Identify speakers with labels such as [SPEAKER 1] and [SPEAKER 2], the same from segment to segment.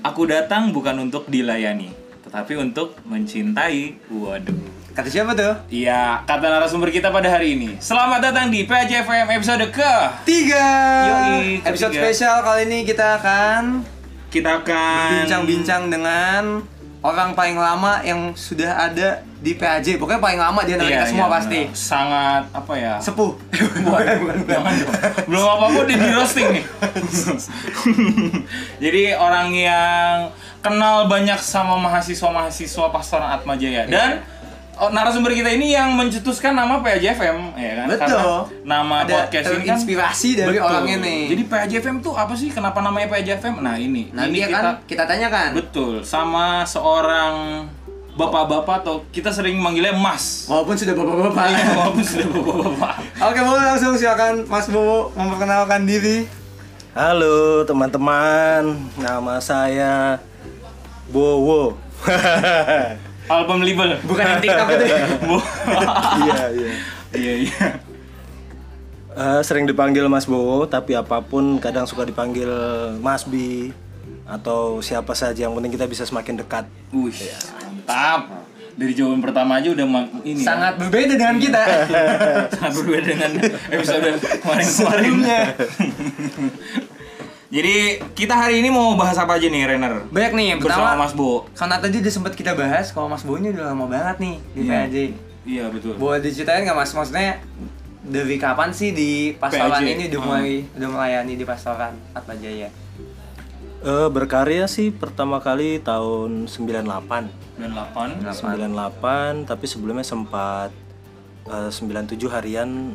[SPEAKER 1] Aku datang bukan untuk dilayani, tetapi untuk mencintai. Waduh.
[SPEAKER 2] Kata siapa tuh?
[SPEAKER 1] Iya, kata narasumber kita pada hari ini. Selamat datang di PJFM episode ke.
[SPEAKER 2] Tiga.
[SPEAKER 1] Yoi, ketiga.
[SPEAKER 2] Episode spesial kali ini kita akan
[SPEAKER 1] Kita akan
[SPEAKER 2] bincang-bincang dengan orang paling lama yang sudah ada di PAJ. Pokoknya paling lama di antara
[SPEAKER 1] Iya,
[SPEAKER 2] kita semua
[SPEAKER 1] iya,
[SPEAKER 2] pasti.
[SPEAKER 1] benar. Sangat apa ya?
[SPEAKER 2] Sepuh.
[SPEAKER 1] Waduh, jangan dong. Belum apa-apa udah di roasting nih. Jadi orang yang kenal banyak sama mahasiswa-mahasiswa Pastoran Atma Jaya
[SPEAKER 2] Iya.
[SPEAKER 1] dan oh, narasumber kita ini yang mencetuskan nama PAJFM ya kan?
[SPEAKER 2] Betul.
[SPEAKER 1] Karena nama
[SPEAKER 2] Ada
[SPEAKER 1] podcast ini kan
[SPEAKER 2] terinspirasi dari orang ini.
[SPEAKER 1] Jadi PAJFM tuh apa sih? Kenapa namanya PAJFM? Nah, ini.
[SPEAKER 2] Nanti
[SPEAKER 1] ini
[SPEAKER 2] akan kita tanyakan.
[SPEAKER 1] betul sama seorang bapak-bapak atau kita sering manggilnya Mas.
[SPEAKER 2] Walaupun sudah bapak-bapak.
[SPEAKER 1] Walaupun sudah bapak-bapak.
[SPEAKER 2] Oke, mau langsung silakan Mas Bowo memperkenalkan diri.
[SPEAKER 3] Halo teman-teman, nama saya Bowo.
[SPEAKER 1] Album label.
[SPEAKER 2] Bukan yang TikTok itu. ya?
[SPEAKER 1] Bu-
[SPEAKER 3] Iya iya.
[SPEAKER 1] Iya iya.
[SPEAKER 3] Eh, sering dipanggil Mas Bowo, tapi apapun kadang suka dipanggil Mas Bi atau siapa saja. Yang penting kita bisa semakin dekat.
[SPEAKER 1] Wih, mantap. Dari jawaban pertama aja udah ma- ini. ya.
[SPEAKER 2] Sangat berbeda dengan kita.
[SPEAKER 1] sangat berbeda dengan episode kemarin-kemarin. Jadi kita hari ini mau bahas apa aja nih Renner?
[SPEAKER 2] Banyak nih, yang
[SPEAKER 1] Bersama
[SPEAKER 2] pertama
[SPEAKER 1] Mas Bo.
[SPEAKER 2] Karena Kan tadi udah sempat kita bahas kalau Mas Bowo ini udah lama banget nih di
[SPEAKER 1] Iya.
[SPEAKER 2] PAJ.
[SPEAKER 1] Iya betul.
[SPEAKER 2] Boleh diceritain nggak Mas maksudnya dari kapan sih di pasaran
[SPEAKER 1] PAJ?
[SPEAKER 2] ini udah mulai udah melayani di pasaran Atma Jaya?
[SPEAKER 3] Eh, berkarya sih pertama kali tahun 98.
[SPEAKER 1] 98.
[SPEAKER 3] 98, tapi sebelumnya sempat eh, 97 harian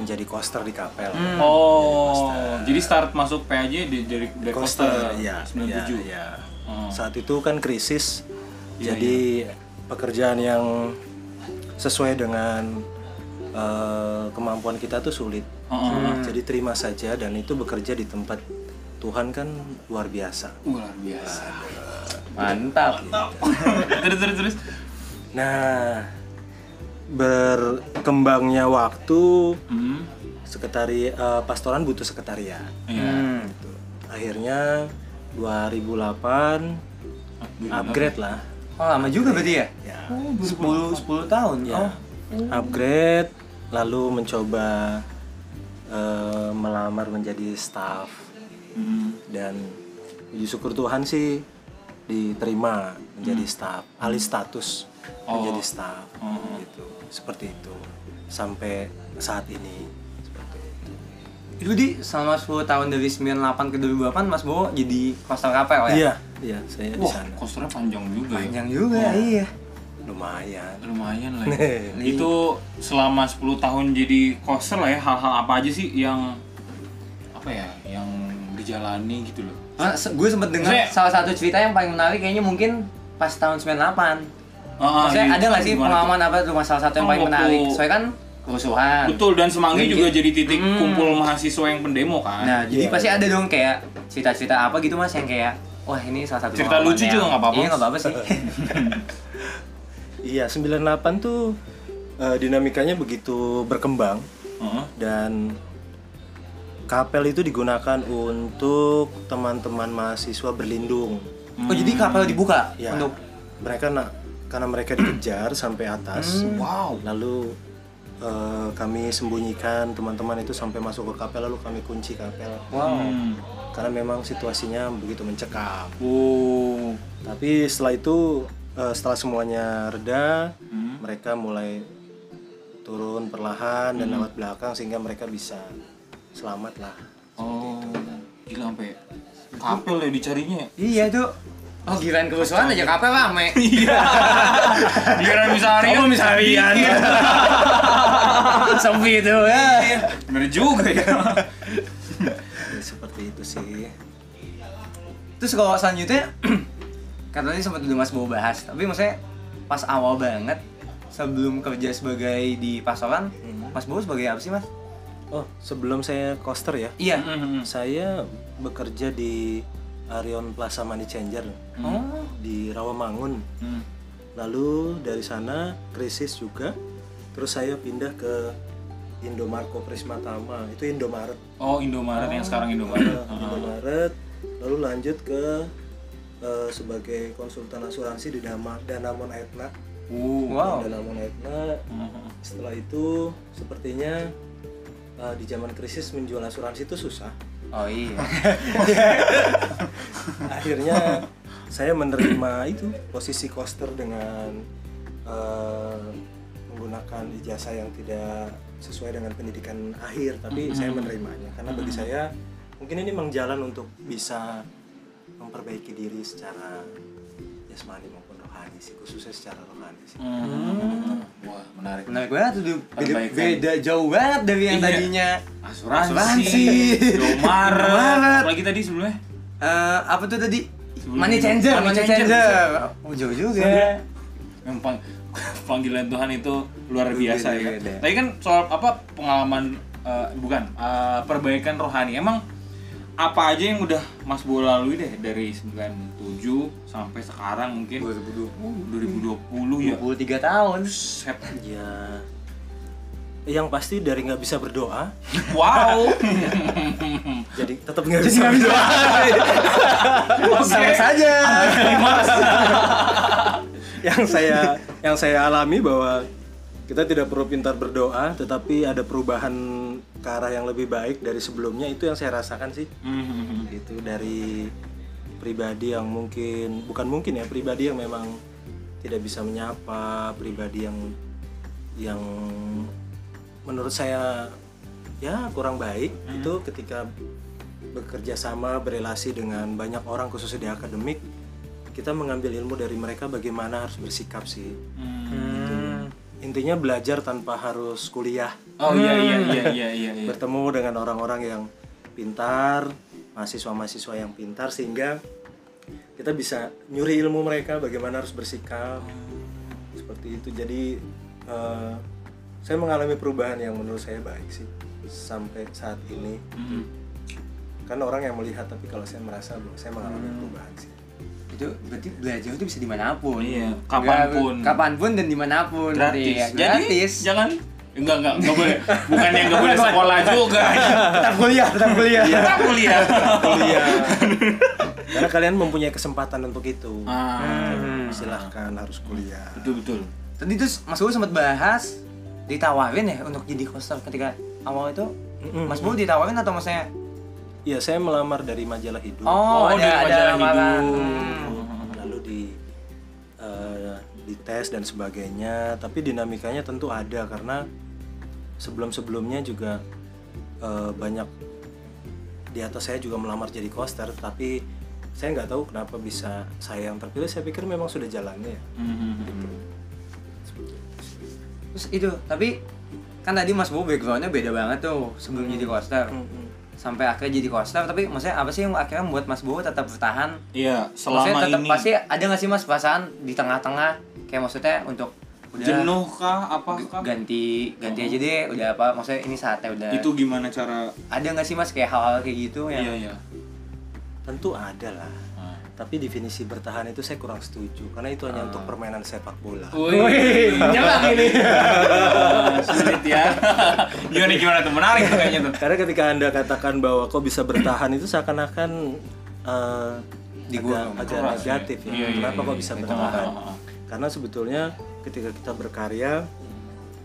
[SPEAKER 3] menjadi koster di kapel.
[SPEAKER 2] Hmm.
[SPEAKER 1] Oh, jadi start masuk PAJ di- dari dari Coaster,
[SPEAKER 2] iya,
[SPEAKER 3] ya,
[SPEAKER 1] 97.
[SPEAKER 3] ya, ya.
[SPEAKER 1] Oh. Iya,
[SPEAKER 3] Saat itu kan krisis, jadi pekerjaan yang sesuai dengan eh, kemampuan kita tuh sulit.
[SPEAKER 1] Oh,
[SPEAKER 3] Jadi terima saja dan itu bekerja di tempat Tuhan kan luar biasa.
[SPEAKER 1] Luar biasa.
[SPEAKER 2] Mantap.
[SPEAKER 1] terus terus terus.
[SPEAKER 3] Nah, berkembangnya waktu
[SPEAKER 1] Hmm.
[SPEAKER 3] sekretari eh, pastoran butuh sekretariat.
[SPEAKER 1] Iya.
[SPEAKER 2] Hmm.
[SPEAKER 3] gitu. Akhirnya 2008 upgrade lah.
[SPEAKER 2] Oh lama juga berarti ya?
[SPEAKER 3] Ya.
[SPEAKER 2] Oh, 10 10 tahun.
[SPEAKER 3] Ya.
[SPEAKER 2] Oh.
[SPEAKER 3] Upgrade lalu mencoba eh, melamar menjadi staff
[SPEAKER 2] Hmm.
[SPEAKER 1] Hmm.
[SPEAKER 3] dan puji syukur Tuhan sih diterima menjadi
[SPEAKER 2] Hmm.
[SPEAKER 3] staff, alih status
[SPEAKER 2] Oh.
[SPEAKER 3] menjadi staff
[SPEAKER 2] Hmm.
[SPEAKER 3] gitu. Seperti itu sampai saat ini seperti itu.
[SPEAKER 2] Itu di selama 10 tahun dari 98 ke 2008 Mas Bowo jadi koster kapel ya?
[SPEAKER 3] Iya, iya saya di
[SPEAKER 1] Wah,
[SPEAKER 3] sana.
[SPEAKER 1] coasternya panjang juga ya.
[SPEAKER 2] Panjang juga, iya.
[SPEAKER 3] Lumayan.
[SPEAKER 1] Lumayan lah. ya. Itu selama 10 tahun jadi coaster lah ya, hal-hal apa aja sih yang apa ya, yang dijalani gitu loh.
[SPEAKER 2] Ah, se- gue sempet dengar
[SPEAKER 1] Maksudnya-
[SPEAKER 2] salah satu cerita yang paling menarik kayaknya mungkin pas tahun 98
[SPEAKER 1] Ah,
[SPEAKER 2] Maksudnya
[SPEAKER 1] gitu.
[SPEAKER 2] ada nggak sih
[SPEAKER 1] Gimana tuh?
[SPEAKER 2] pengalaman apa tuh masalah satu yang
[SPEAKER 1] Oh,
[SPEAKER 2] paling
[SPEAKER 1] waktu-
[SPEAKER 2] menarik? Soalnya kan kerusuhan.
[SPEAKER 1] Betul dan Semanggi
[SPEAKER 2] Jadi-
[SPEAKER 1] juga jadi titik
[SPEAKER 2] Hmm.
[SPEAKER 1] kumpul mahasiswa yang pendemo kan.
[SPEAKER 2] Nah, jadi
[SPEAKER 3] Iya.
[SPEAKER 2] pasti ada dong kayak cerita-cerita apa gitu mas yang kayak wah ini salah satu
[SPEAKER 1] Cerita
[SPEAKER 2] pengalaman
[SPEAKER 1] lucu
[SPEAKER 2] yang-
[SPEAKER 1] juga nggak apa-apa.
[SPEAKER 2] Iya nggak apa-apa sih.
[SPEAKER 3] Iya, 98 tuh eh, dinamikanya begitu berkembang
[SPEAKER 1] Heeh.
[SPEAKER 3] dan kapel itu digunakan untuk teman-teman mahasiswa berlindung.
[SPEAKER 2] oh jadi kapal dibuka
[SPEAKER 1] Iya.
[SPEAKER 3] Ya.
[SPEAKER 2] untuk
[SPEAKER 3] mereka nak karena mereka dikejar sampai atas.
[SPEAKER 1] Hmm. Wow.
[SPEAKER 3] Lalu eh, kami sembunyikan teman-teman itu sampai masuk ke kapel lalu kami kunci kapel
[SPEAKER 2] wow.
[SPEAKER 1] Hmm.
[SPEAKER 3] karena memang situasinya begitu mencekam.
[SPEAKER 1] Oh.
[SPEAKER 3] Tapi setelah itu eh, setelah semuanya reda,
[SPEAKER 1] Hmm.
[SPEAKER 3] mereka mulai turun perlahan dan lewat belakang sehingga mereka bisa selamat lah.
[SPEAKER 1] Oh, gila sampai kapel ya dicarinya.
[SPEAKER 2] Iya tuh. Oh giliran kerusuhan aja kapal rame.
[SPEAKER 1] Iya. Dikira bisa Iya, harian. Iya.
[SPEAKER 2] Kamu bisa harian. Sepi itu ya.
[SPEAKER 1] Iya. Bener juga ya.
[SPEAKER 3] Ya, seperti itu sih.
[SPEAKER 2] Terus kalau selanjutnya katanya sempat udah mas mau bahas tapi maksudnya pas awal banget sebelum kerja sebagai di pasaran
[SPEAKER 1] Hmm.
[SPEAKER 2] mas Bowo sebagai apa sih mas?
[SPEAKER 3] Oh, sebelum saya koster ya,
[SPEAKER 2] Iya.
[SPEAKER 3] saya bekerja di Arion Plaza Money Changer Hmm.
[SPEAKER 2] Oh.
[SPEAKER 3] di Rawamangun.
[SPEAKER 1] Hmm.
[SPEAKER 3] Lalu dari sana krisis juga. Terus saya pindah ke Indomarko Prismatama, itu Indomaret.
[SPEAKER 1] Oh, Indomaret yang sekarang Indomaret.
[SPEAKER 3] Indomaret, lalu lanjut ke eh, sebagai konsultan asuransi di Dana Danamon Aetna.
[SPEAKER 2] Wow.
[SPEAKER 3] Danamon Aetna. Setelah itu sepertinya eh, di zaman krisis menjual asuransi itu susah.
[SPEAKER 2] Oh iya.
[SPEAKER 3] Akhirnya saya menerima itu posisi koster dengan eh, menggunakan ijazah yang tidak sesuai dengan pendidikan akhir, tapi saya menerimanya karena bagi saya mungkin ini memang jalan untuk bisa memperbaiki diri secara jasmani maupun rohani sih, khususnya secara rohani sih.
[SPEAKER 1] Wah, menarik.
[SPEAKER 2] Menarik banget tuh. Du. Beda,
[SPEAKER 1] Perbaikan.
[SPEAKER 2] beda jauh banget dari yang
[SPEAKER 1] Iya.
[SPEAKER 2] tadinya.
[SPEAKER 1] Asuransi,
[SPEAKER 2] Asuransi.
[SPEAKER 1] Indomaret.
[SPEAKER 2] Indomaret.
[SPEAKER 1] Apalagi tadi sebelumnya.
[SPEAKER 2] Eh, apa tuh tadi?
[SPEAKER 1] Sebelum
[SPEAKER 2] Money
[SPEAKER 1] ini.
[SPEAKER 2] changer,
[SPEAKER 1] Money
[SPEAKER 2] money
[SPEAKER 1] changer. Iya.
[SPEAKER 2] changer. Oh, jauh juga.
[SPEAKER 1] Yang pang- panggilan Tuhan itu luar biasa ya.
[SPEAKER 2] Beda-beda.
[SPEAKER 1] Tadi kan soal apa pengalaman eh, bukan eh, perbaikan rohani. Emang apa aja yang udah Mas Bo lalui deh dari 97 sampai sekarang mungkin 2020 ya.
[SPEAKER 2] 23 tahun.
[SPEAKER 1] Set.
[SPEAKER 3] Ya, yang pasti dari nggak bisa berdoa,
[SPEAKER 1] Wow.
[SPEAKER 3] Mm. jadi tetap nggak bisa berdoa.
[SPEAKER 1] Iya.
[SPEAKER 2] Sama saja.
[SPEAKER 3] yang saya yang saya alami bahwa kita tidak perlu pintar berdoa tetapi ada perubahan ke arah yang lebih baik dari sebelumnya itu yang saya rasakan sih itu Gitu, dari pribadi yang mungkin bukan mungkin ya pribadi yang memang tidak bisa menyapa pribadi yang yang menurut saya ya kurang baik itu ketika bekerja sama berelasi dengan banyak orang khususnya di akademik kita mengambil ilmu dari mereka bagaimana harus bersikap sih intinya belajar tanpa harus kuliah
[SPEAKER 1] Oh iya iya iya iya iya. iya.
[SPEAKER 3] bertemu dengan orang-orang yang pintar, mahasiswa-mahasiswa yang pintar sehingga kita bisa nyuri ilmu mereka bagaimana harus bersikap seperti itu. Jadi eh, saya mengalami perubahan yang menurut saya baik sih sampai saat ini.
[SPEAKER 2] Hmm.
[SPEAKER 1] Mm.
[SPEAKER 3] Kan orang yang melihat tapi kalau saya merasa bahwa saya mengalami perubahan sih.
[SPEAKER 2] itu berarti belajar itu bisa dimanapun
[SPEAKER 1] Iya,
[SPEAKER 2] Nggak-
[SPEAKER 1] kapanpun.
[SPEAKER 2] kapanpun dan dimanapun
[SPEAKER 1] gratis.
[SPEAKER 2] Iya,
[SPEAKER 1] Jadi
[SPEAKER 2] gratis
[SPEAKER 1] jangan enggak enggak enggak boleh. Bukan yang enggak boleh sekolah juga.
[SPEAKER 2] tetap kuliah tetap kuliah
[SPEAKER 1] Kita kuliah.
[SPEAKER 3] Kuliah. Karena kalian mempunyai kesempatan untuk itu.
[SPEAKER 1] Ah,
[SPEAKER 3] Silahkan harus kuliah.
[SPEAKER 1] betul betul.
[SPEAKER 2] tadi terus mas Bowo sempat bahas ditawarin ya untuk jadi hoster ketika awal itu
[SPEAKER 3] Mm-mm.
[SPEAKER 2] mas Bowo ditawarin atau maksudnya
[SPEAKER 3] Iya, saya melamar dari majalah hidup.
[SPEAKER 1] Oh,
[SPEAKER 2] oh,
[SPEAKER 1] dari
[SPEAKER 2] ada ada
[SPEAKER 1] majalah
[SPEAKER 2] lamaran.
[SPEAKER 1] hidup.
[SPEAKER 2] Hmm.
[SPEAKER 3] lalu di eh, dites dan sebagainya tapi dinamikanya tentu ada karena sebelum sebelumnya juga eh, banyak di atas saya juga melamar jadi koster tapi saya nggak tahu kenapa bisa saya yang terpilih saya pikir memang sudah jalannya ya
[SPEAKER 2] terus itu tapi kan tadi mas Bowo backgroundnya beda banget tuh
[SPEAKER 1] Hmm.
[SPEAKER 2] sebelum jadi hoster sampai akhirnya jadi hoster tapi maksudnya apa sih yang akhirnya membuat mas Bowo tetap bertahan
[SPEAKER 1] Iya,
[SPEAKER 2] maksudnya
[SPEAKER 1] selama
[SPEAKER 2] tetap
[SPEAKER 1] ini
[SPEAKER 2] pasti ada nggak sih mas perasaan di tengah-tengah kayak maksudnya untuk udah
[SPEAKER 1] jenuh kah apa kah?
[SPEAKER 2] ganti ganti aja deh udah apa maksudnya ini saatnya udah
[SPEAKER 1] Itu gimana cara
[SPEAKER 2] ada nggak sih mas kayak hal-hal kayak gitu yang
[SPEAKER 1] Iya iya.
[SPEAKER 3] tentu ada lah tapi definisi bertahan itu saya kurang setuju karena itu hanya untuk permainan sepak bola
[SPEAKER 1] Wih,
[SPEAKER 2] Hmm.
[SPEAKER 1] nyelak ini. Ah, Sulit ya. Gimana gimana tuh menarik tuh kayaknya tuh.
[SPEAKER 3] Karena ketika anda katakan bahwa kok bisa bertahan itu seakan-akan eh,
[SPEAKER 2] Di
[SPEAKER 3] agak,
[SPEAKER 2] gua
[SPEAKER 1] keras
[SPEAKER 3] agak
[SPEAKER 1] ya.
[SPEAKER 3] negatif ya.
[SPEAKER 1] Iya, iya,
[SPEAKER 3] Kenapa
[SPEAKER 1] iya,
[SPEAKER 3] kok
[SPEAKER 1] iya.
[SPEAKER 3] bisa
[SPEAKER 1] Itu
[SPEAKER 3] bertahan?
[SPEAKER 1] nggak apa-apa.
[SPEAKER 3] Karena sebetulnya ketika kita berkarya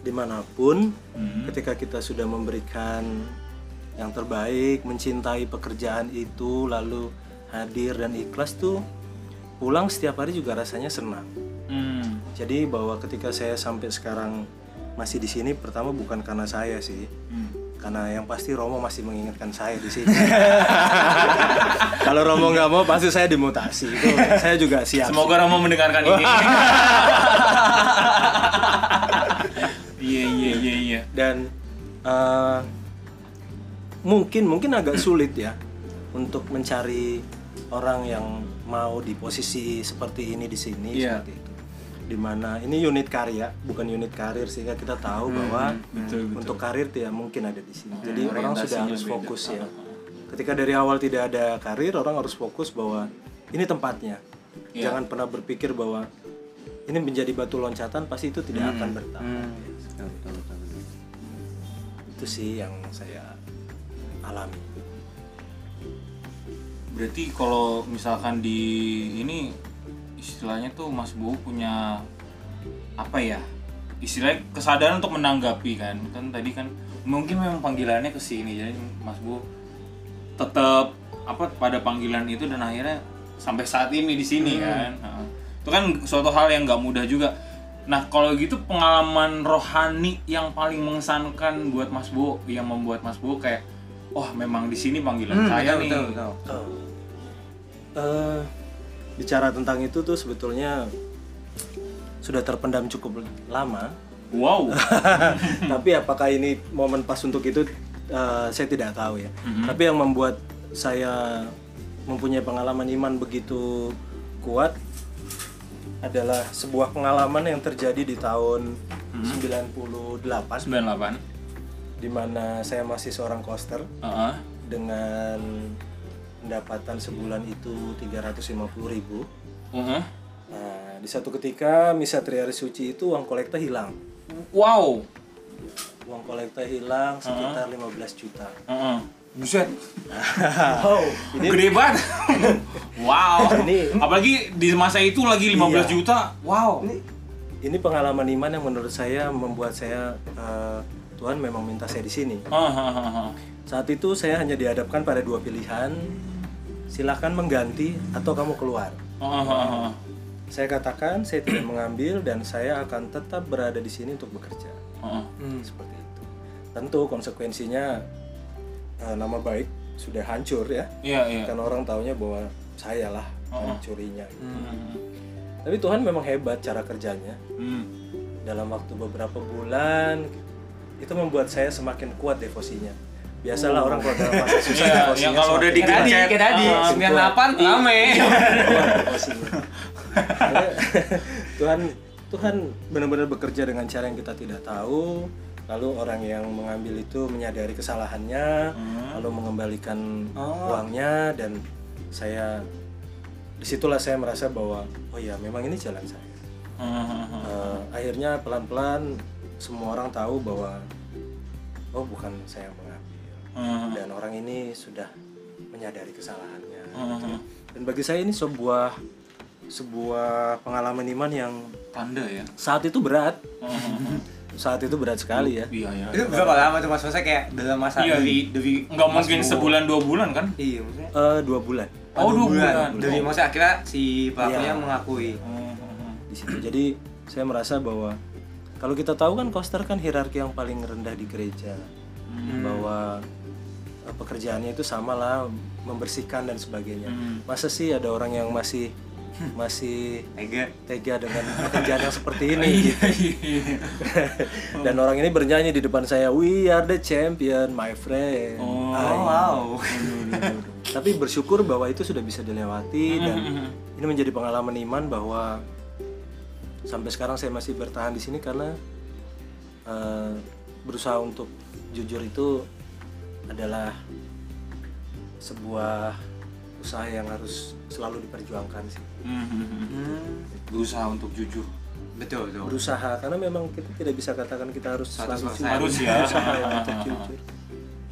[SPEAKER 3] dimanapun,
[SPEAKER 1] Hmm.
[SPEAKER 3] ketika kita sudah memberikan yang terbaik, mencintai pekerjaan itu, lalu hadir dan ikhlas tuh pulang setiap hari juga rasanya senang.
[SPEAKER 1] Hmm.
[SPEAKER 3] Jadi bahwa ketika saya sampai sekarang masih di sini pertama bukan karena saya sih. Karena yang pasti Romo masih mengingatkan saya di sini. Kalau Romo nggak mau pasti saya dimutasi. Itu saya juga siap. sih.
[SPEAKER 1] Semoga Romo mendengarkan ini. Iya iya iya iya.
[SPEAKER 3] dan eh, mungkin mungkin agak sulit ya untuk mencari orang yang mau di posisi seperti ini di sini
[SPEAKER 1] Iya.
[SPEAKER 3] seperti itu dimana ini unit karya bukan unit karir sehingga kita tahu bahwa
[SPEAKER 1] Hmm, betul, betul. Hmm,
[SPEAKER 3] untuk karir tidak mungkin ada di sini jadi orang sudah
[SPEAKER 1] orientasinya
[SPEAKER 3] harus
[SPEAKER 1] beda.
[SPEAKER 3] fokus ya ketika dari awal tidak ada karir orang harus fokus bahwa ini tempatnya
[SPEAKER 1] Iya.
[SPEAKER 3] jangan pernah berpikir bahwa ini menjadi batu loncatan pasti itu tidak
[SPEAKER 1] Hmm,
[SPEAKER 3] akan bertahan
[SPEAKER 2] Betul, betul, betul, betul.
[SPEAKER 3] itu sih yang saya alami
[SPEAKER 1] Berarti kalau misalkan di ini istilahnya tuh Mas Bu punya apa ya? Istilahnya kesadaran untuk menanggapi kan. Kan tadi kan mungkin memang panggilannya ke sini jadi Mas Bu tetap apa pada panggilan itu dan akhirnya sampai saat ini di
[SPEAKER 2] Hmm.
[SPEAKER 1] sini kan. Heeh. Itu kan suatu hal yang nggak mudah juga. Nah, kalau gitu pengalaman rohani yang paling mengesankan buat Mas Bu yang membuat Mas Bu kayak wah memang di sini panggilan
[SPEAKER 2] Hmm,
[SPEAKER 1] saya
[SPEAKER 2] betul,
[SPEAKER 1] nih. gitu.
[SPEAKER 2] betul, betul.
[SPEAKER 3] Eh, bicara tentang itu tuh sebetulnya sudah terpendam cukup lama
[SPEAKER 1] Wow.
[SPEAKER 3] tapi apakah ini momen pas untuk itu eh, saya tidak tahu ya tapi yang membuat saya mempunyai pengalaman iman begitu kuat adalah sebuah pengalaman yang terjadi di tahun 98
[SPEAKER 1] 98.
[SPEAKER 3] di mana saya masih seorang koster
[SPEAKER 1] Heeh.
[SPEAKER 3] dengan pendapatan sebulan itu 350.000 ribu
[SPEAKER 1] Heeh.
[SPEAKER 3] Nah, di satu ketika misa Triari Suci itu uang kolekta hilang.
[SPEAKER 1] Wow.
[SPEAKER 3] Uang kolekta hilang sekitar 15 juta.
[SPEAKER 1] Heeh.
[SPEAKER 2] Buset.
[SPEAKER 3] Oh,
[SPEAKER 1] Uh-huh. Gede banget. wow.
[SPEAKER 3] Ini-
[SPEAKER 1] Apalagi di masa itu lagi 15
[SPEAKER 3] Iya.
[SPEAKER 1] juta. Wow.
[SPEAKER 3] ini ini pengalaman iman yang menurut saya membuat saya eh, Tuhan memang minta saya di sini.
[SPEAKER 1] Heeh, heeh, heeh.
[SPEAKER 3] Saat itu saya hanya dihadapkan pada dua pilihan. Silahkan mengganti atau kamu keluar.
[SPEAKER 1] Heeh, heeh, heeh.
[SPEAKER 3] Saya katakan saya tidak mengambil dan saya akan tetap berada di sini untuk bekerja.
[SPEAKER 1] Heeh.
[SPEAKER 3] Seperti itu. Tentu konsekuensinya eh, nama baik sudah hancur ya.
[SPEAKER 1] Iya, iya.
[SPEAKER 3] kan orang taunya bahwa saya lah
[SPEAKER 1] Oh.
[SPEAKER 3] yang curinya gitu.
[SPEAKER 1] Heeh.
[SPEAKER 3] tapi Tuhan memang hebat cara kerjanya
[SPEAKER 1] Hmm.
[SPEAKER 3] dalam waktu beberapa bulan itu membuat saya semakin kuat devosinya biasalah orang kalau dalam masa susah
[SPEAKER 1] Oh. Iya,
[SPEAKER 3] devosinya
[SPEAKER 1] yang kalau udah
[SPEAKER 3] semakin Iya.
[SPEAKER 1] digencet,
[SPEAKER 3] kuat.
[SPEAKER 2] Kayak tadi,
[SPEAKER 1] Ah,
[SPEAKER 2] 98 rame.
[SPEAKER 3] Kuat devosinya. Karena Iya. Tuhan Tuhan benar-benar bekerja dengan cara yang kita tidak tahu lalu orang yang mengambil itu menyadari kesalahannya lalu mengembalikan uangnya dan saya disitulah saya merasa bahwa oh ya memang ini jalan saya
[SPEAKER 1] Heeh, heeh, heeh.
[SPEAKER 3] Eh, akhirnya pelan-pelan semua orang tahu bahwa oh bukan saya yang mengambil
[SPEAKER 1] Heeh.
[SPEAKER 3] dan orang ini sudah menyadari kesalahannya
[SPEAKER 1] Heeh.
[SPEAKER 3] dan bagi saya ini sebuah sebuah pengalaman iman yang
[SPEAKER 1] Tanda ya.
[SPEAKER 3] saat itu berat saat itu berat sekali ya
[SPEAKER 1] Iya, iya.
[SPEAKER 2] Itu berapa lama tuh Mas? Maksudnya kayak dalam masa
[SPEAKER 1] Iya,
[SPEAKER 2] dari dari
[SPEAKER 1] Nggak
[SPEAKER 2] Mas
[SPEAKER 1] mungkin
[SPEAKER 2] Bu.
[SPEAKER 1] sebulan dua bulan kan?
[SPEAKER 2] Iya, maksudnya.
[SPEAKER 3] Eh, dua bulan
[SPEAKER 1] Oh, Uh-huh, dua bulan.
[SPEAKER 2] Dari maksudnya akhirnya si pelakunya
[SPEAKER 3] Iya.
[SPEAKER 2] mengakui.
[SPEAKER 1] Heeh, heeh.
[SPEAKER 3] di situ. Jadi saya merasa bahwa kalau kita tahu kan koster kan hierarki yang paling rendah di gereja,
[SPEAKER 1] Hmm.
[SPEAKER 2] Hmm.
[SPEAKER 3] bahwa eh, pekerjaannya itu samalah membersihkan dan sebagainya.
[SPEAKER 1] Hmm.
[SPEAKER 3] Masa sih ada orang yang masih masih
[SPEAKER 2] Tega.
[SPEAKER 3] tega dengan pekerjaan yang seperti ini gitu.
[SPEAKER 1] Iya.
[SPEAKER 3] Dan orang ini bernyanyi di depan saya, "We are the champion, my friend." Ah, iya.
[SPEAKER 2] Oh, wow.
[SPEAKER 3] Tapi bersyukur bahwa itu sudah bisa dilewati
[SPEAKER 2] Mm-hmm,
[SPEAKER 3] dan ini menjadi pengalaman iman bahwa sampai sekarang saya masih bertahan di sini karena eh, berusaha untuk jujur itu adalah sebuah usaha yang harus selalu diperjuangkan sih.
[SPEAKER 1] Heeh, heeh. Hmm, Berusaha untuk jujur.
[SPEAKER 2] Betul, betul.
[SPEAKER 3] Berusaha karena memang kita tidak bisa katakan kita harus
[SPEAKER 2] 100%
[SPEAKER 3] selalu jujur.
[SPEAKER 1] harus ya.
[SPEAKER 3] Berusaha untuk jujur.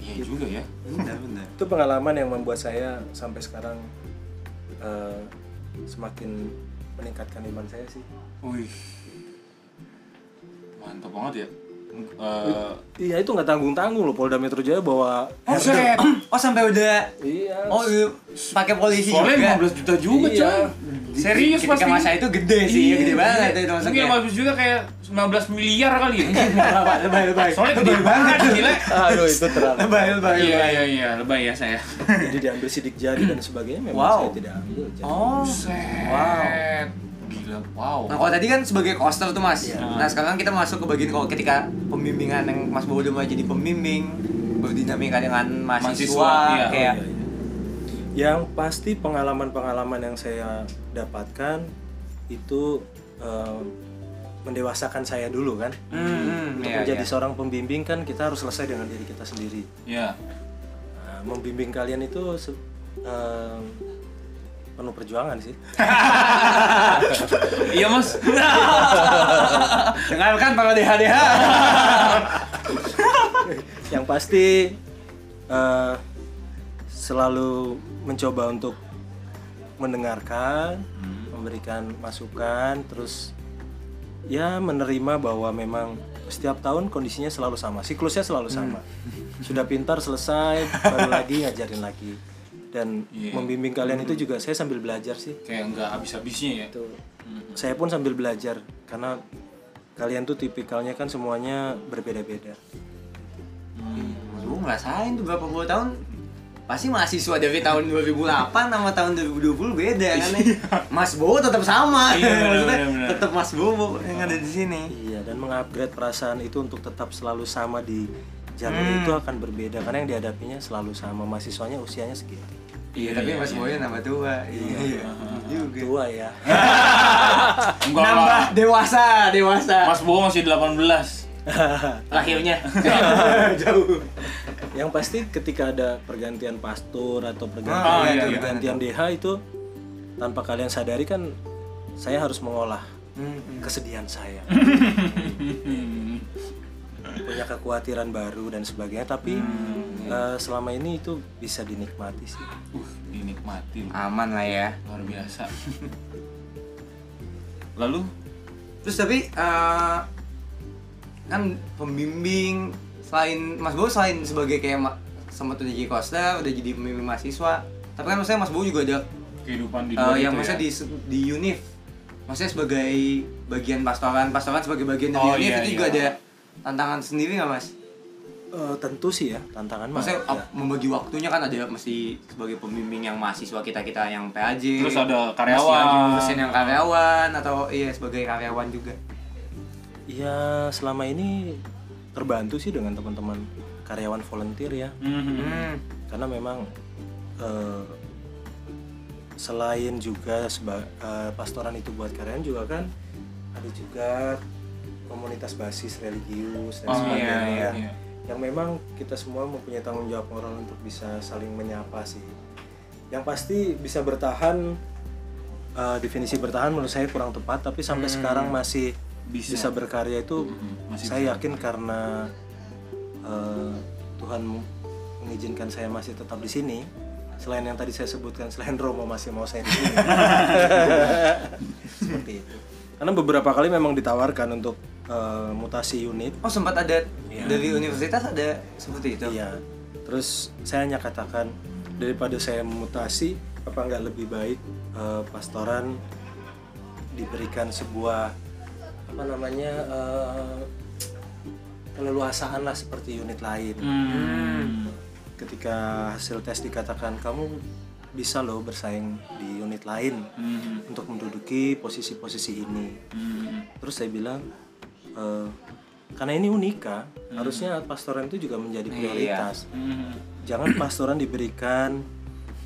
[SPEAKER 1] Iya juga ya.
[SPEAKER 2] Benar, benar.
[SPEAKER 3] itu pengalaman yang membuat saya sampai sekarang eh, semakin meningkatkan iman saya sih
[SPEAKER 1] Wih, mantap banget ya. Eh,
[SPEAKER 3] iya itu nggak tanggung tanggung loh Polda Metro Jaya bahwa
[SPEAKER 2] Oh, sampai, oh, sampai udah
[SPEAKER 3] iya
[SPEAKER 2] Oh, iya. pakai
[SPEAKER 1] Eh,
[SPEAKER 2] polisi
[SPEAKER 1] soalnya
[SPEAKER 2] juga.
[SPEAKER 1] 15 juta juga,
[SPEAKER 3] Iya.
[SPEAKER 1] coy. Serius
[SPEAKER 2] Ketika
[SPEAKER 1] pasti.
[SPEAKER 2] masa itu gede sih,
[SPEAKER 1] Iya,
[SPEAKER 2] gede banget
[SPEAKER 1] iya.
[SPEAKER 2] itu
[SPEAKER 1] Mungkin
[SPEAKER 2] maksudnya.
[SPEAKER 1] 15 juta kayak 19 miliar kali ya.
[SPEAKER 2] Lebay, Iya, lebay, lebay.
[SPEAKER 1] Soalnya gede banget gila.
[SPEAKER 3] aduh itu terlalu
[SPEAKER 2] Lebay, lebay,
[SPEAKER 1] Iya,
[SPEAKER 2] lebay.
[SPEAKER 1] iya, iya, lebay ya saya.
[SPEAKER 3] jadi diambil sidik jari dan sebagainya memang
[SPEAKER 2] Wow.
[SPEAKER 3] saya tidak ambil jadi
[SPEAKER 2] Oh.
[SPEAKER 1] Wow. Gila, wow.
[SPEAKER 2] Nah, kalau tadi kan sebagai koster tuh Mas.
[SPEAKER 1] Iya.
[SPEAKER 2] Nah, sekarang kita masuk ke bagian kalau ketika pembimbingan yang Mas Bowo udah mulai jadi pembimbing, berdinamika dengan mahasiswa,
[SPEAKER 1] Mahasiswa, iya.
[SPEAKER 2] kayak
[SPEAKER 3] Iya, iya. yang pasti pengalaman-pengalaman yang saya dapatkan itu eh, mendewasakan saya dulu kan
[SPEAKER 2] Hmm,
[SPEAKER 3] untuk
[SPEAKER 2] iya,
[SPEAKER 3] menjadi
[SPEAKER 2] iya.
[SPEAKER 3] seorang pembimbing kan kita harus selesai dengan diri kita sendiri
[SPEAKER 1] Ya.
[SPEAKER 3] Nah, membimbing kalian itu se- eh, penuh perjuangan sih.
[SPEAKER 1] Iya, Mas.
[SPEAKER 2] dengarkan para DHDH.
[SPEAKER 3] Yang pasti eh, selalu mencoba untuk mendengarkan, memberikan masukan, terus ya menerima bahwa memang setiap tahun kondisinya selalu sama, siklusnya selalu sama. Sudah pintar selesai, baru lagi ngajarin lagi. Dan membimbing kalian itu juga saya sambil belajar sih.
[SPEAKER 1] kayak nggak habis-habisnya ya
[SPEAKER 3] Tuh. Saya pun sambil belajar karena kalian tuh tipikalnya kan semuanya berbeda-beda.
[SPEAKER 2] Gue ngerasain tuh berapa puluh tahun Pasti mahasiswa dari tahun 2008 sama tahun 2020 beda kan ya. Mas Bowo tetap sama.
[SPEAKER 1] Iya, bener,
[SPEAKER 2] Maksudnya
[SPEAKER 1] bener, bener.
[SPEAKER 2] tetap Mas Bowo yang ada di sini.
[SPEAKER 3] Iya, dan mengupgrade perasaan itu untuk tetap selalu sama di jalur
[SPEAKER 2] Hmm.
[SPEAKER 3] itu akan berbeda karena yang dihadapinya selalu sama, mahasiswanya usianya segitu.
[SPEAKER 2] Iya, tapi Mas Bowo yang nambah tua. Iya. Juga.
[SPEAKER 3] Tua ya.
[SPEAKER 1] enggak
[SPEAKER 2] Nambah
[SPEAKER 1] lah
[SPEAKER 2] dewasa, dewasa.
[SPEAKER 1] Mas Bowo masih 18
[SPEAKER 2] lahirnya. Jauh.
[SPEAKER 3] yang pasti ketika ada pergantian pastor atau pergantian
[SPEAKER 2] Ah, iya,
[SPEAKER 3] atau
[SPEAKER 2] iya.
[SPEAKER 3] pergantian DH itu tanpa kalian sadari kan saya harus mengolah
[SPEAKER 2] Hmm.
[SPEAKER 3] kesedihan saya. punya kekhawatiran baru dan sebagainya tapi
[SPEAKER 2] Hmm.
[SPEAKER 3] eh, selama ini itu bisa dinikmati sih.
[SPEAKER 1] uh dinikmatin
[SPEAKER 2] Aman lah ya.
[SPEAKER 1] luar biasa lalu
[SPEAKER 2] Terus tapi eh, kan pembimbing selain Mas Bowo selain sebagai kayak ma- sempat udah jadi kosta, udah jadi pembimbing mahasiswa. Tapi kan maksudnya Mas Bowo juga ada
[SPEAKER 1] kehidupan di
[SPEAKER 2] eh,
[SPEAKER 1] luar
[SPEAKER 2] yang
[SPEAKER 1] itu
[SPEAKER 2] maksudnya
[SPEAKER 1] ya?
[SPEAKER 2] di di Unif. Maksudnya sebagai bagian pastoran, pastoran sebagai bagian dari
[SPEAKER 1] Oh,
[SPEAKER 2] Unif
[SPEAKER 1] iya,
[SPEAKER 2] itu
[SPEAKER 1] iya.
[SPEAKER 2] juga ada tantangan sendiri nggak Mas?
[SPEAKER 3] Eh, tentu sih ya tantangan mah ya.
[SPEAKER 2] Maksudnya
[SPEAKER 1] Iya.
[SPEAKER 3] ada.
[SPEAKER 2] ap- membagi waktunya kan ada mesti sebagai pembimbing yang mahasiswa kita kita yang PAJ.
[SPEAKER 1] Terus ada
[SPEAKER 2] masih yang
[SPEAKER 1] karyawan.
[SPEAKER 2] ngurusin yang karyawan atau iya sebagai karyawan juga.
[SPEAKER 3] Ya selama ini terbantu sih dengan teman-teman karyawan volunteer ya
[SPEAKER 1] Mhm.
[SPEAKER 2] Hmm.
[SPEAKER 3] karena memang eh, selain juga seba- eh, pastoran itu buat karyawan juga kan ada juga komunitas basis religius dan
[SPEAKER 1] Oh,
[SPEAKER 3] sebagainya
[SPEAKER 1] iya, iya, iya.
[SPEAKER 3] yang memang kita semua mempunyai tanggung jawab moral untuk bisa saling menyapa sih yang pasti bisa bertahan eh, definisi bertahan menurut saya kurang tepat tapi sampai sekarang masih
[SPEAKER 1] Bisa.
[SPEAKER 3] bisa, berkarya itu
[SPEAKER 1] masih
[SPEAKER 3] saya yakin karena eh, Tuhan mengizinkan saya masih tetap di sini selain yang tadi saya sebutkan selain Romo masih mau saya di sini seperti itu karena beberapa kali memang ditawarkan untuk eh, mutasi unit
[SPEAKER 2] Oh sempat ada
[SPEAKER 1] Iya.
[SPEAKER 2] dari universitas ada seperti itu.
[SPEAKER 3] Iya. Terus saya hanya katakan daripada saya mutasi, apa nggak lebih baik eh, pastoran diberikan sebuah apa namanya eh, keleluasaan lah seperti unit lain.
[SPEAKER 1] Hmm.
[SPEAKER 3] Ketika hasil tes dikatakan kamu bisa loh bersaing di unit lain
[SPEAKER 1] Mhm.
[SPEAKER 3] untuk menduduki posisi-posisi ini.
[SPEAKER 1] Mhm.
[SPEAKER 3] Terus saya bilang, eh, karena ini unika, harusnya pastoran itu juga menjadi prioritas.
[SPEAKER 1] Mhm.
[SPEAKER 3] Jangan pastoran diberikan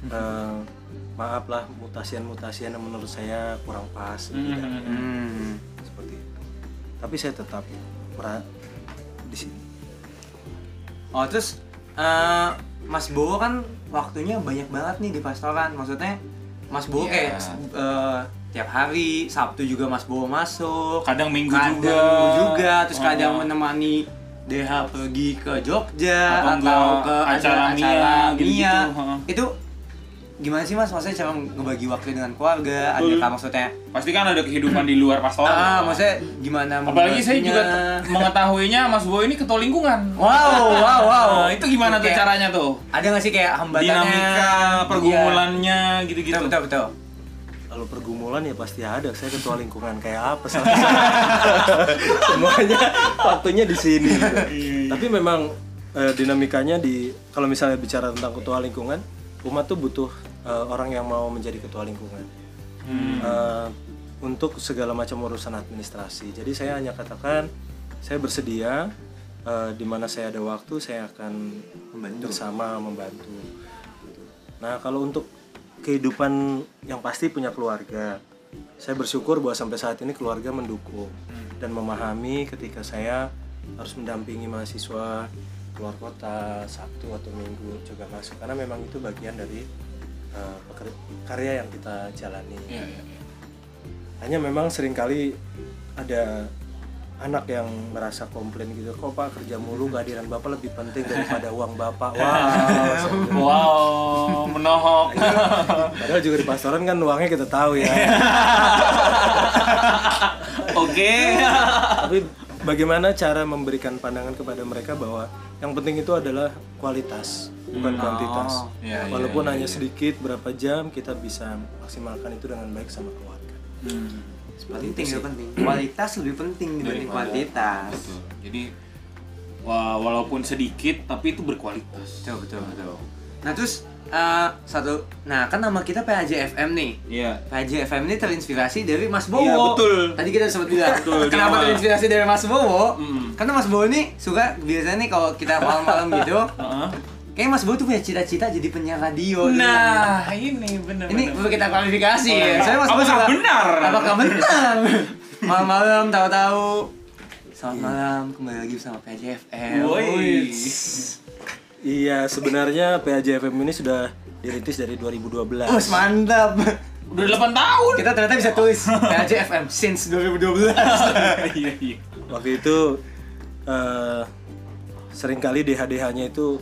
[SPEAKER 3] eh, maaf lah mutasian-mutasian yang menurut saya kurang pas, tidak
[SPEAKER 2] Hmm.
[SPEAKER 3] seperti itu. Tapi saya tetap mera- di sini.
[SPEAKER 2] Oh terus eh, Mas Bowo kan waktunya banyak banget nih di pastoran. Maksudnya Mas Bowo
[SPEAKER 1] Iya.
[SPEAKER 2] kayak eh, tiap hari Sabtu juga Mas Bowo masuk.
[SPEAKER 1] Kadang minggu
[SPEAKER 2] Kadang
[SPEAKER 1] juga.
[SPEAKER 2] minggu juga. Terus
[SPEAKER 1] Oh.
[SPEAKER 2] kadang menemani DH pergi ke Jogja
[SPEAKER 1] Atau
[SPEAKER 2] atau,
[SPEAKER 1] enggak
[SPEAKER 2] ke
[SPEAKER 1] acara
[SPEAKER 2] acara
[SPEAKER 1] Mia, gitu-gitu,
[SPEAKER 2] Mia.
[SPEAKER 1] heeh.
[SPEAKER 2] Itu gimana sih Mas? Maksudnya cara ngebagi waktu dengan keluarga? Adakah maksudnya
[SPEAKER 1] Pasti kan ada kehidupan di luar pastoran.
[SPEAKER 2] Ah, maksudnya gimana
[SPEAKER 1] Apalagi saya juga
[SPEAKER 2] membaginya?
[SPEAKER 1] mengetahuinya Mas Bowo ini ketua lingkungan.
[SPEAKER 2] Wow, wow, wow.
[SPEAKER 1] Nah, itu gimana tuh
[SPEAKER 2] Kayak-
[SPEAKER 1] caranya tuh?
[SPEAKER 2] Ada nggak sih kayak hambatannya?
[SPEAKER 1] Dinamika pergumulannya
[SPEAKER 2] Iya.
[SPEAKER 1] gitu-gitu.
[SPEAKER 2] Betul, betul, betul.
[SPEAKER 3] Kalau pergumulan ya pasti ada. Saya ketua lingkungan kayak apa? salah saya. Semuanya waktunya di sini. gitu. Tapi memang eh, dinamikanya di kalau misalnya bicara tentang ketua lingkungan, umat tuh butuh eh, orang yang mau menjadi ketua lingkungan. Eh, untuk segala macam urusan administrasi. Jadi saya hanya katakan saya bersedia eh, di mana saya ada waktu saya akan bersama membantu. Nah, kalau untuk kehidupan yang pasti punya keluarga, saya bersyukur bahwa sampai saat ini keluarga mendukung dan memahami ketika saya harus mendampingi mahasiswa keluar kota Sabtu atau Minggu juga masuk karena memang itu bagian dari uh, peker- karya yang kita jalani.
[SPEAKER 1] Iya, iya, iya.
[SPEAKER 3] Hanya memang seringkali ada anak yang merasa komplain gitu kok pak kerja mulu kehadiran bapak lebih penting daripada uang bapak wow
[SPEAKER 1] Wow, menohok.
[SPEAKER 3] padahal juga di pasaran kan uangnya kita tahu ya
[SPEAKER 1] Oke.
[SPEAKER 3] tapi bagaimana cara memberikan pandangan kepada mereka bahwa yang penting itu adalah kualitas bukan kuantitas
[SPEAKER 1] Hmm, Iya, iya,
[SPEAKER 3] walaupun
[SPEAKER 1] iya,
[SPEAKER 3] hanya sedikit berapa jam kita bisa maksimalkan itu dengan baik sama keluarga
[SPEAKER 1] Hmm,
[SPEAKER 2] penting ya penting kualitas lebih penting dibanding
[SPEAKER 1] Daripada-
[SPEAKER 2] kuantitas
[SPEAKER 1] betul. Jadi wa- walaupun sedikit tapi itu berkualitas.
[SPEAKER 2] betul betul betul nah terus eh, satu nah kan nama kita PHJFM nih
[SPEAKER 1] Iya.
[SPEAKER 2] PHJFM ini terinspirasi dari Mas Bowo.
[SPEAKER 1] Iya, betul.
[SPEAKER 2] Tadi kita sempat bilang.
[SPEAKER 1] Betul, dia
[SPEAKER 2] Kenapa
[SPEAKER 1] mah.
[SPEAKER 2] terinspirasi dari Mas Bowo?
[SPEAKER 1] Mm.
[SPEAKER 2] Karena Mas Bowo ini suka biasanya nih kalau kita malam-malam gitu,
[SPEAKER 1] Heeh.
[SPEAKER 2] kayak Mas Bowo tuh punya cita-cita jadi penyiar radio. gitu.
[SPEAKER 1] Nah, ini benar.
[SPEAKER 2] ini perlu kita kualifikasi
[SPEAKER 1] Oh,
[SPEAKER 2] ya.
[SPEAKER 1] iya.
[SPEAKER 2] Soalnya Mas Bowo
[SPEAKER 1] Apakah
[SPEAKER 2] suka-
[SPEAKER 1] benar?
[SPEAKER 2] Apakah benar? malam-malam tahu-tahu. Selamat malam, kembali lagi bersama PJFM.
[SPEAKER 1] Woi.
[SPEAKER 3] iya sebenarnya PAJFM ini sudah dirintis dari 2012
[SPEAKER 1] Oh,
[SPEAKER 2] Us mantap.
[SPEAKER 1] Udah 8 tahun.
[SPEAKER 2] Kita ternyata bisa tulis PJFM since 2012.
[SPEAKER 1] Iya, iya.
[SPEAKER 3] waktu itu eh, seringkali DH-DH-nya itu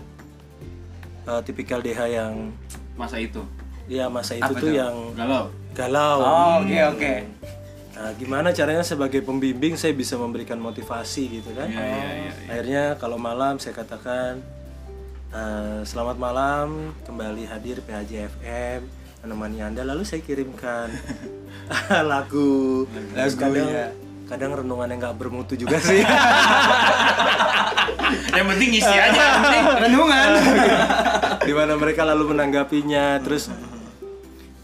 [SPEAKER 3] eh, tipikal DH yang
[SPEAKER 1] Masa itu.
[SPEAKER 3] ya masa itu
[SPEAKER 2] Apa
[SPEAKER 3] tuh
[SPEAKER 2] tuh?
[SPEAKER 3] yang
[SPEAKER 1] Galau.
[SPEAKER 3] galau
[SPEAKER 2] Oh,
[SPEAKER 1] Hmm.
[SPEAKER 2] oke oke.
[SPEAKER 3] Nah, gimana caranya sebagai pembimbing saya bisa memberikan motivasi gitu kan?
[SPEAKER 1] Iya, iya, iya.
[SPEAKER 3] Akhirnya kalau malam saya katakan "Eh, selamat malam kembali hadir PHJFM menemani anda lalu saya kirimkan lagu lagu kadang
[SPEAKER 1] ya.
[SPEAKER 3] kadang renungan yang nggak bermutu juga sih
[SPEAKER 1] Yang penting isi aja. yang penting.
[SPEAKER 2] Renungan.
[SPEAKER 3] di mana mereka lalu menanggapinya terus
[SPEAKER 2] Hmm,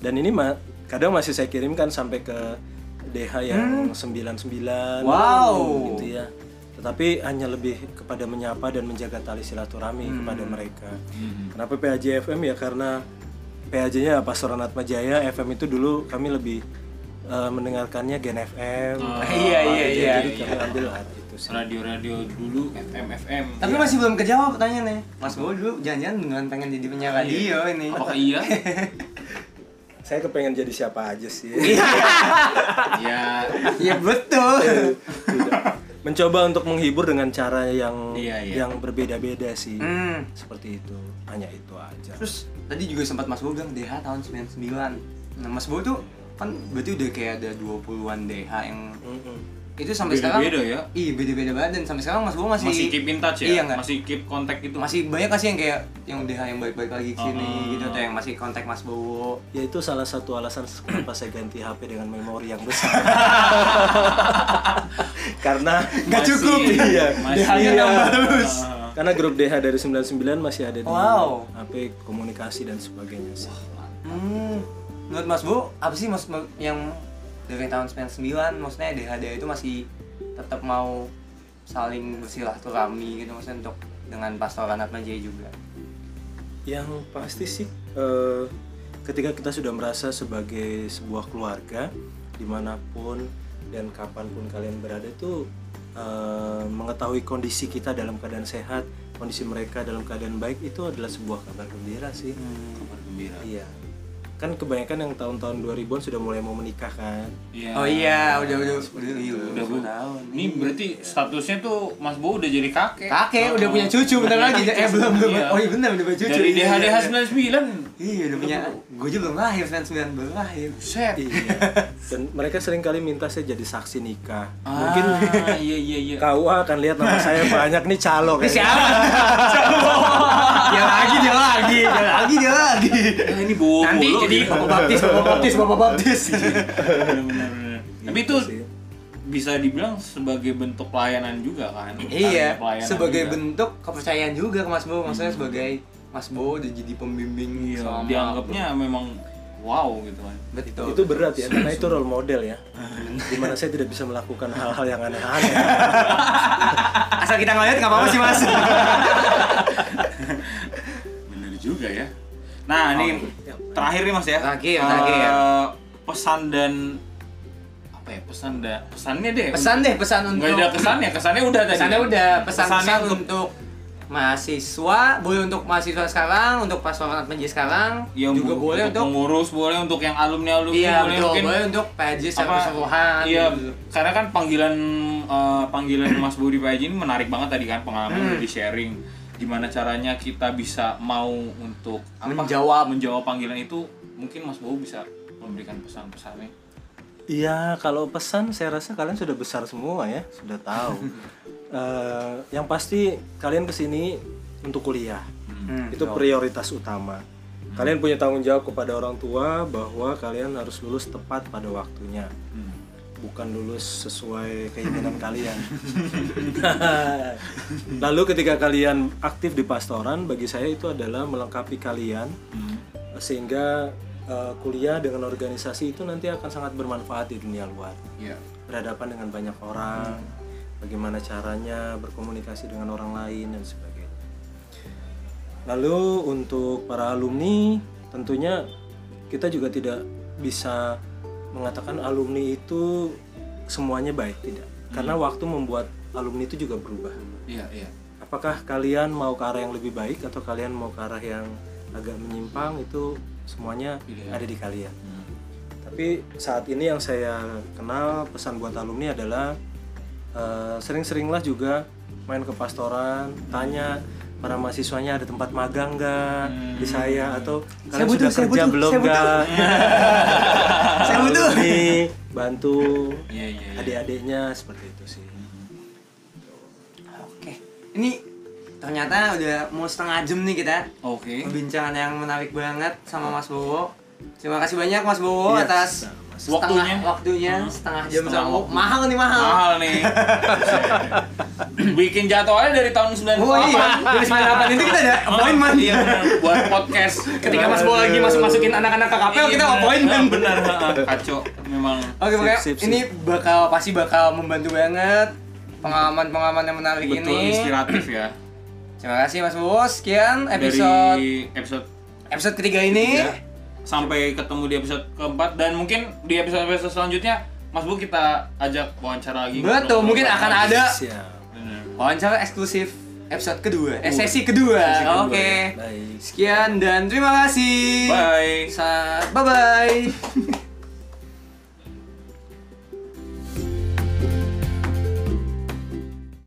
[SPEAKER 3] dan ini ma- kadang masih saya kirimkan sampai ke DH yang 99
[SPEAKER 2] Hmm. Wow.
[SPEAKER 3] gitu ya tetapi hanya lebih kepada menyapa dan menjaga tali silaturahmi
[SPEAKER 2] Hmm.
[SPEAKER 3] kepada mereka kenapa PAJ FM ya karena PAJ nya Pasaran Atma Jaya FM itu dulu kami lebih eh, mendengarkannya Gen FM
[SPEAKER 2] iya, iya, iya,
[SPEAKER 3] jadi kami ambil itu sih
[SPEAKER 1] Radio-radio dulu FM FM.
[SPEAKER 2] Tapi masih belum kejawab pertanyaannya. Mas Bowo dulu jangan-jangan dengan pengen jadi penyiar radio ini.
[SPEAKER 1] Apakah Oh, iya?
[SPEAKER 3] saya kepengen jadi siapa aja sih
[SPEAKER 1] ya,
[SPEAKER 2] Iya betul.
[SPEAKER 3] Tidak. mencoba untuk menghibur dengan cara yang
[SPEAKER 1] Iya, iya.
[SPEAKER 3] yang berbeda-beda sih
[SPEAKER 2] Hmm.
[SPEAKER 3] seperti itu hanya itu aja
[SPEAKER 2] Terus tadi juga sempat Mas Bowo bilang DH tahun 99. Nah, Mas Bowo tuh kan berarti udah kayak ada 20-an DH yang itu sampai sekarang
[SPEAKER 1] Beda-beda ya?
[SPEAKER 2] Iya, beda-beda badan. Sampai sekarang Mas Bowo masih
[SPEAKER 1] masih keep in touch ya?
[SPEAKER 2] Iya, nggak?
[SPEAKER 1] Masih gitu? keep kontak itu?
[SPEAKER 2] masih banyak gak sih yang kayak yang DH yang baik-baik lagi ke sini
[SPEAKER 1] Oh.
[SPEAKER 2] gitu atau yang masih kontak Mas Bowo.
[SPEAKER 3] ya itu salah satu alasan kenapa saya ganti HP dengan memori yang besar karena
[SPEAKER 2] Nggak cukup.
[SPEAKER 3] iya
[SPEAKER 1] Masih.
[SPEAKER 2] DH-nya
[SPEAKER 3] Iya.
[SPEAKER 2] nambah terus.
[SPEAKER 3] karena grup DH dari 99 masih ada di
[SPEAKER 2] Wow.
[SPEAKER 3] HP komunikasi dan sebagainya sih
[SPEAKER 2] Hmm. Menurut Mas Bu, apa sih mas yang dari tahun 99 maksudnya DHD itu masih tetap mau saling bersilaturahmi gitu maksudnya untuk dengan pastoran Atma Jaya juga.
[SPEAKER 3] yang pasti sih eh, ketika kita sudah merasa sebagai sebuah keluarga dimanapun dan kapanpun kalian berada itu eh, mengetahui kondisi kita dalam keadaan sehat kondisi mereka dalam keadaan baik itu adalah sebuah kabar gembira sih
[SPEAKER 1] Kabar gembira.
[SPEAKER 3] iya kan kebanyakan yang tahun-tahun 2000-an sudah mulai mau menikah kan
[SPEAKER 1] Iya.
[SPEAKER 2] Oh iya, udah udah udah iya,
[SPEAKER 1] Udah bu.
[SPEAKER 2] sepuluh tahun.
[SPEAKER 1] Ini berarti statusnya tuh Mas Bowo udah jadi kakek. Oh,
[SPEAKER 2] Kakek udah punya cucu bentar lagi. Eh belum belum.
[SPEAKER 1] Iya.
[SPEAKER 2] Oh iya benar udah punya cucu.
[SPEAKER 1] Dari
[SPEAKER 2] Iya,
[SPEAKER 1] DHDH
[SPEAKER 2] iya, iya.
[SPEAKER 1] 99.
[SPEAKER 2] Iya udah punya. Gue juga belum lahir 99 belum lahir.
[SPEAKER 1] Set.
[SPEAKER 3] iya dan mereka sering kali minta saya jadi saksi nikah
[SPEAKER 2] Ah.
[SPEAKER 1] Mungkin Ah, iya iya iya.
[SPEAKER 3] KUA akan lihat nama saya banyak nih calo
[SPEAKER 2] Ini
[SPEAKER 3] kayaknya.
[SPEAKER 2] siapa? dia lagi dia lagi dia lagi dia lagi.
[SPEAKER 1] Ah, ini Bowo.
[SPEAKER 2] Nanti
[SPEAKER 1] mulu
[SPEAKER 2] jadi
[SPEAKER 1] gitu. Iya,
[SPEAKER 2] bapak baptis, bapak baptis, bapak baptis.
[SPEAKER 1] Bener-bener. Tapi
[SPEAKER 3] Gitu
[SPEAKER 1] itu
[SPEAKER 3] sih.
[SPEAKER 1] bisa dibilang sebagai bentuk pelayanan juga kan? Karya
[SPEAKER 2] iya,
[SPEAKER 1] pelayanan
[SPEAKER 2] sebagai
[SPEAKER 1] juga.
[SPEAKER 2] bentuk kepercayaan juga ke Mas Bowo, maksudnya sebagai Mas Bowo udah jadi pembimbing
[SPEAKER 1] Iya,
[SPEAKER 2] selama-
[SPEAKER 1] dianggapnya memang wow gitu kan.
[SPEAKER 2] betul. Ah.
[SPEAKER 3] itu berat ya karena itu role model ya dimana saya tidak bisa melakukan hal-hal yang aneh-aneh
[SPEAKER 2] Asal kita ngeliat nggak apa-apa sih Mas.
[SPEAKER 1] Bener juga ya. Nah, ini terakhir nih Mas ya.
[SPEAKER 2] Terakhir,
[SPEAKER 1] Eh,
[SPEAKER 2] terakhir ya.
[SPEAKER 1] Pesan dan apa ya? Pesan dan pesannya deh.
[SPEAKER 2] pesan deh, pesan
[SPEAKER 1] Nggak
[SPEAKER 2] untuk
[SPEAKER 1] ada kesannya, kesannya udah tadi.
[SPEAKER 2] pesannya udah pesan pesan
[SPEAKER 1] Pesannya untuk
[SPEAKER 2] untuk mahasiswa boleh untuk mahasiswa sekarang untuk pas format penji sekarang
[SPEAKER 1] Ya,
[SPEAKER 2] juga
[SPEAKER 1] bu-
[SPEAKER 2] boleh untuk
[SPEAKER 1] pengurus boleh untuk yang alumni alumni
[SPEAKER 2] iya
[SPEAKER 1] boleh
[SPEAKER 2] betul
[SPEAKER 1] mungkin
[SPEAKER 2] boleh untuk gitu. PJ secara
[SPEAKER 1] apa,
[SPEAKER 2] keseluruhan
[SPEAKER 1] iya karena kan panggilan eh, panggilan Mas Budi Paji ini menarik banget tadi kan pengalaman
[SPEAKER 2] Hmm.
[SPEAKER 1] di sharing gimana caranya kita bisa mau untuk apa,
[SPEAKER 2] Menjawab.
[SPEAKER 1] menjawab panggilan itu mungkin Mas Bowo bisa memberikan pesan-pesannya
[SPEAKER 3] Iya, kalau pesan saya rasa kalian sudah besar semua ya, sudah tahu. Eh, yang pasti kalian kesini untuk kuliah,
[SPEAKER 2] Hmm.
[SPEAKER 3] itu prioritas utama. Kalian punya tanggung jawab kepada orang tua bahwa kalian harus lulus tepat pada waktunya,
[SPEAKER 1] Hmm.
[SPEAKER 3] bukan lulus sesuai keinginan kalian. Lalu ketika kalian aktif di pastoran, bagi saya itu adalah melengkapi kalian
[SPEAKER 1] Hmm.
[SPEAKER 3] sehingga eh, kuliah dengan organisasi itu nanti akan sangat bermanfaat di dunia luar
[SPEAKER 1] Iya.
[SPEAKER 3] berhadapan dengan banyak orang bagaimana caranya berkomunikasi dengan orang lain dan sebagainya lalu untuk para alumni tentunya kita juga tidak bisa mengatakan alumni itu semuanya baik tidak karena waktu membuat alumni itu juga berubah
[SPEAKER 1] iya iya
[SPEAKER 3] apakah kalian mau ke arah yang lebih baik atau kalian mau ke arah yang agak menyimpang itu semuanya
[SPEAKER 1] Pilihan.
[SPEAKER 3] ada di kalian.
[SPEAKER 1] Hmm.
[SPEAKER 3] Tapi saat ini yang saya kenal pesan buat alumni adalah eh, sering-seringlah juga main ke pastoran, tanya para mahasiswanya ada tempat magang nggak di saya atau kalian
[SPEAKER 2] butuh,
[SPEAKER 3] sudah
[SPEAKER 2] Hmm. saya
[SPEAKER 3] kerja
[SPEAKER 2] butuh,
[SPEAKER 3] belum
[SPEAKER 2] saya butuh."
[SPEAKER 3] nggak?
[SPEAKER 2] Saya butuh.
[SPEAKER 3] Alumni, bantu
[SPEAKER 1] iya iya iya.
[SPEAKER 3] adik-adiknya seperti itu sih.
[SPEAKER 2] oke ini ternyata udah mau setengah jam nih kita
[SPEAKER 1] oke
[SPEAKER 2] perbincangan yang menarik banget sama Mas Bowo terima kasih banyak Mas Bowo
[SPEAKER 3] Iya,
[SPEAKER 2] atas
[SPEAKER 3] sama-sama.
[SPEAKER 2] setengah-
[SPEAKER 1] Waktunya.
[SPEAKER 2] waktunya setengah jam
[SPEAKER 1] Setengah
[SPEAKER 2] sama
[SPEAKER 1] waktu.
[SPEAKER 2] mahal nih mahal
[SPEAKER 1] mahal nih bikin jadwalnya dari tahun 98
[SPEAKER 2] Oh iya, dari 98 itu kita ada appointment
[SPEAKER 1] Iya, benar. buat podcast
[SPEAKER 2] Ketika Mas Bowo lagi masuk-masukin anak-anak ke kapel,
[SPEAKER 1] Iya,
[SPEAKER 2] kita
[SPEAKER 1] benar.
[SPEAKER 2] appointment
[SPEAKER 1] benar ha, kacau memang
[SPEAKER 2] Oke,
[SPEAKER 3] Sip,
[SPEAKER 2] pokoknya
[SPEAKER 3] sip, sip.
[SPEAKER 2] ini bakal pasti bakal membantu banget pengalaman-pengalaman yang menarik
[SPEAKER 1] betul
[SPEAKER 2] ini.
[SPEAKER 1] inspiratif ya
[SPEAKER 2] Terima kasih Mas Bowo. Sekian episode
[SPEAKER 1] dari Iya. episode
[SPEAKER 2] episode ketiga ini.
[SPEAKER 1] tiga sampai ketemu di episode keempat dan mungkin di episode episode selanjutnya Mas Bu kita ajak wawancara lagi
[SPEAKER 2] Betul, mungkin
[SPEAKER 1] Iya.
[SPEAKER 2] akan ada
[SPEAKER 3] Siap.
[SPEAKER 1] Benar.
[SPEAKER 2] wawancara eksklusif episode kedua, eh,
[SPEAKER 3] Kedua.
[SPEAKER 2] sesi kedua.
[SPEAKER 3] Sesi kedua,
[SPEAKER 2] Oke.
[SPEAKER 3] ya. Baik.
[SPEAKER 2] Sekian dan terima kasih.
[SPEAKER 1] iya. bye
[SPEAKER 2] Sa- Bye-bye.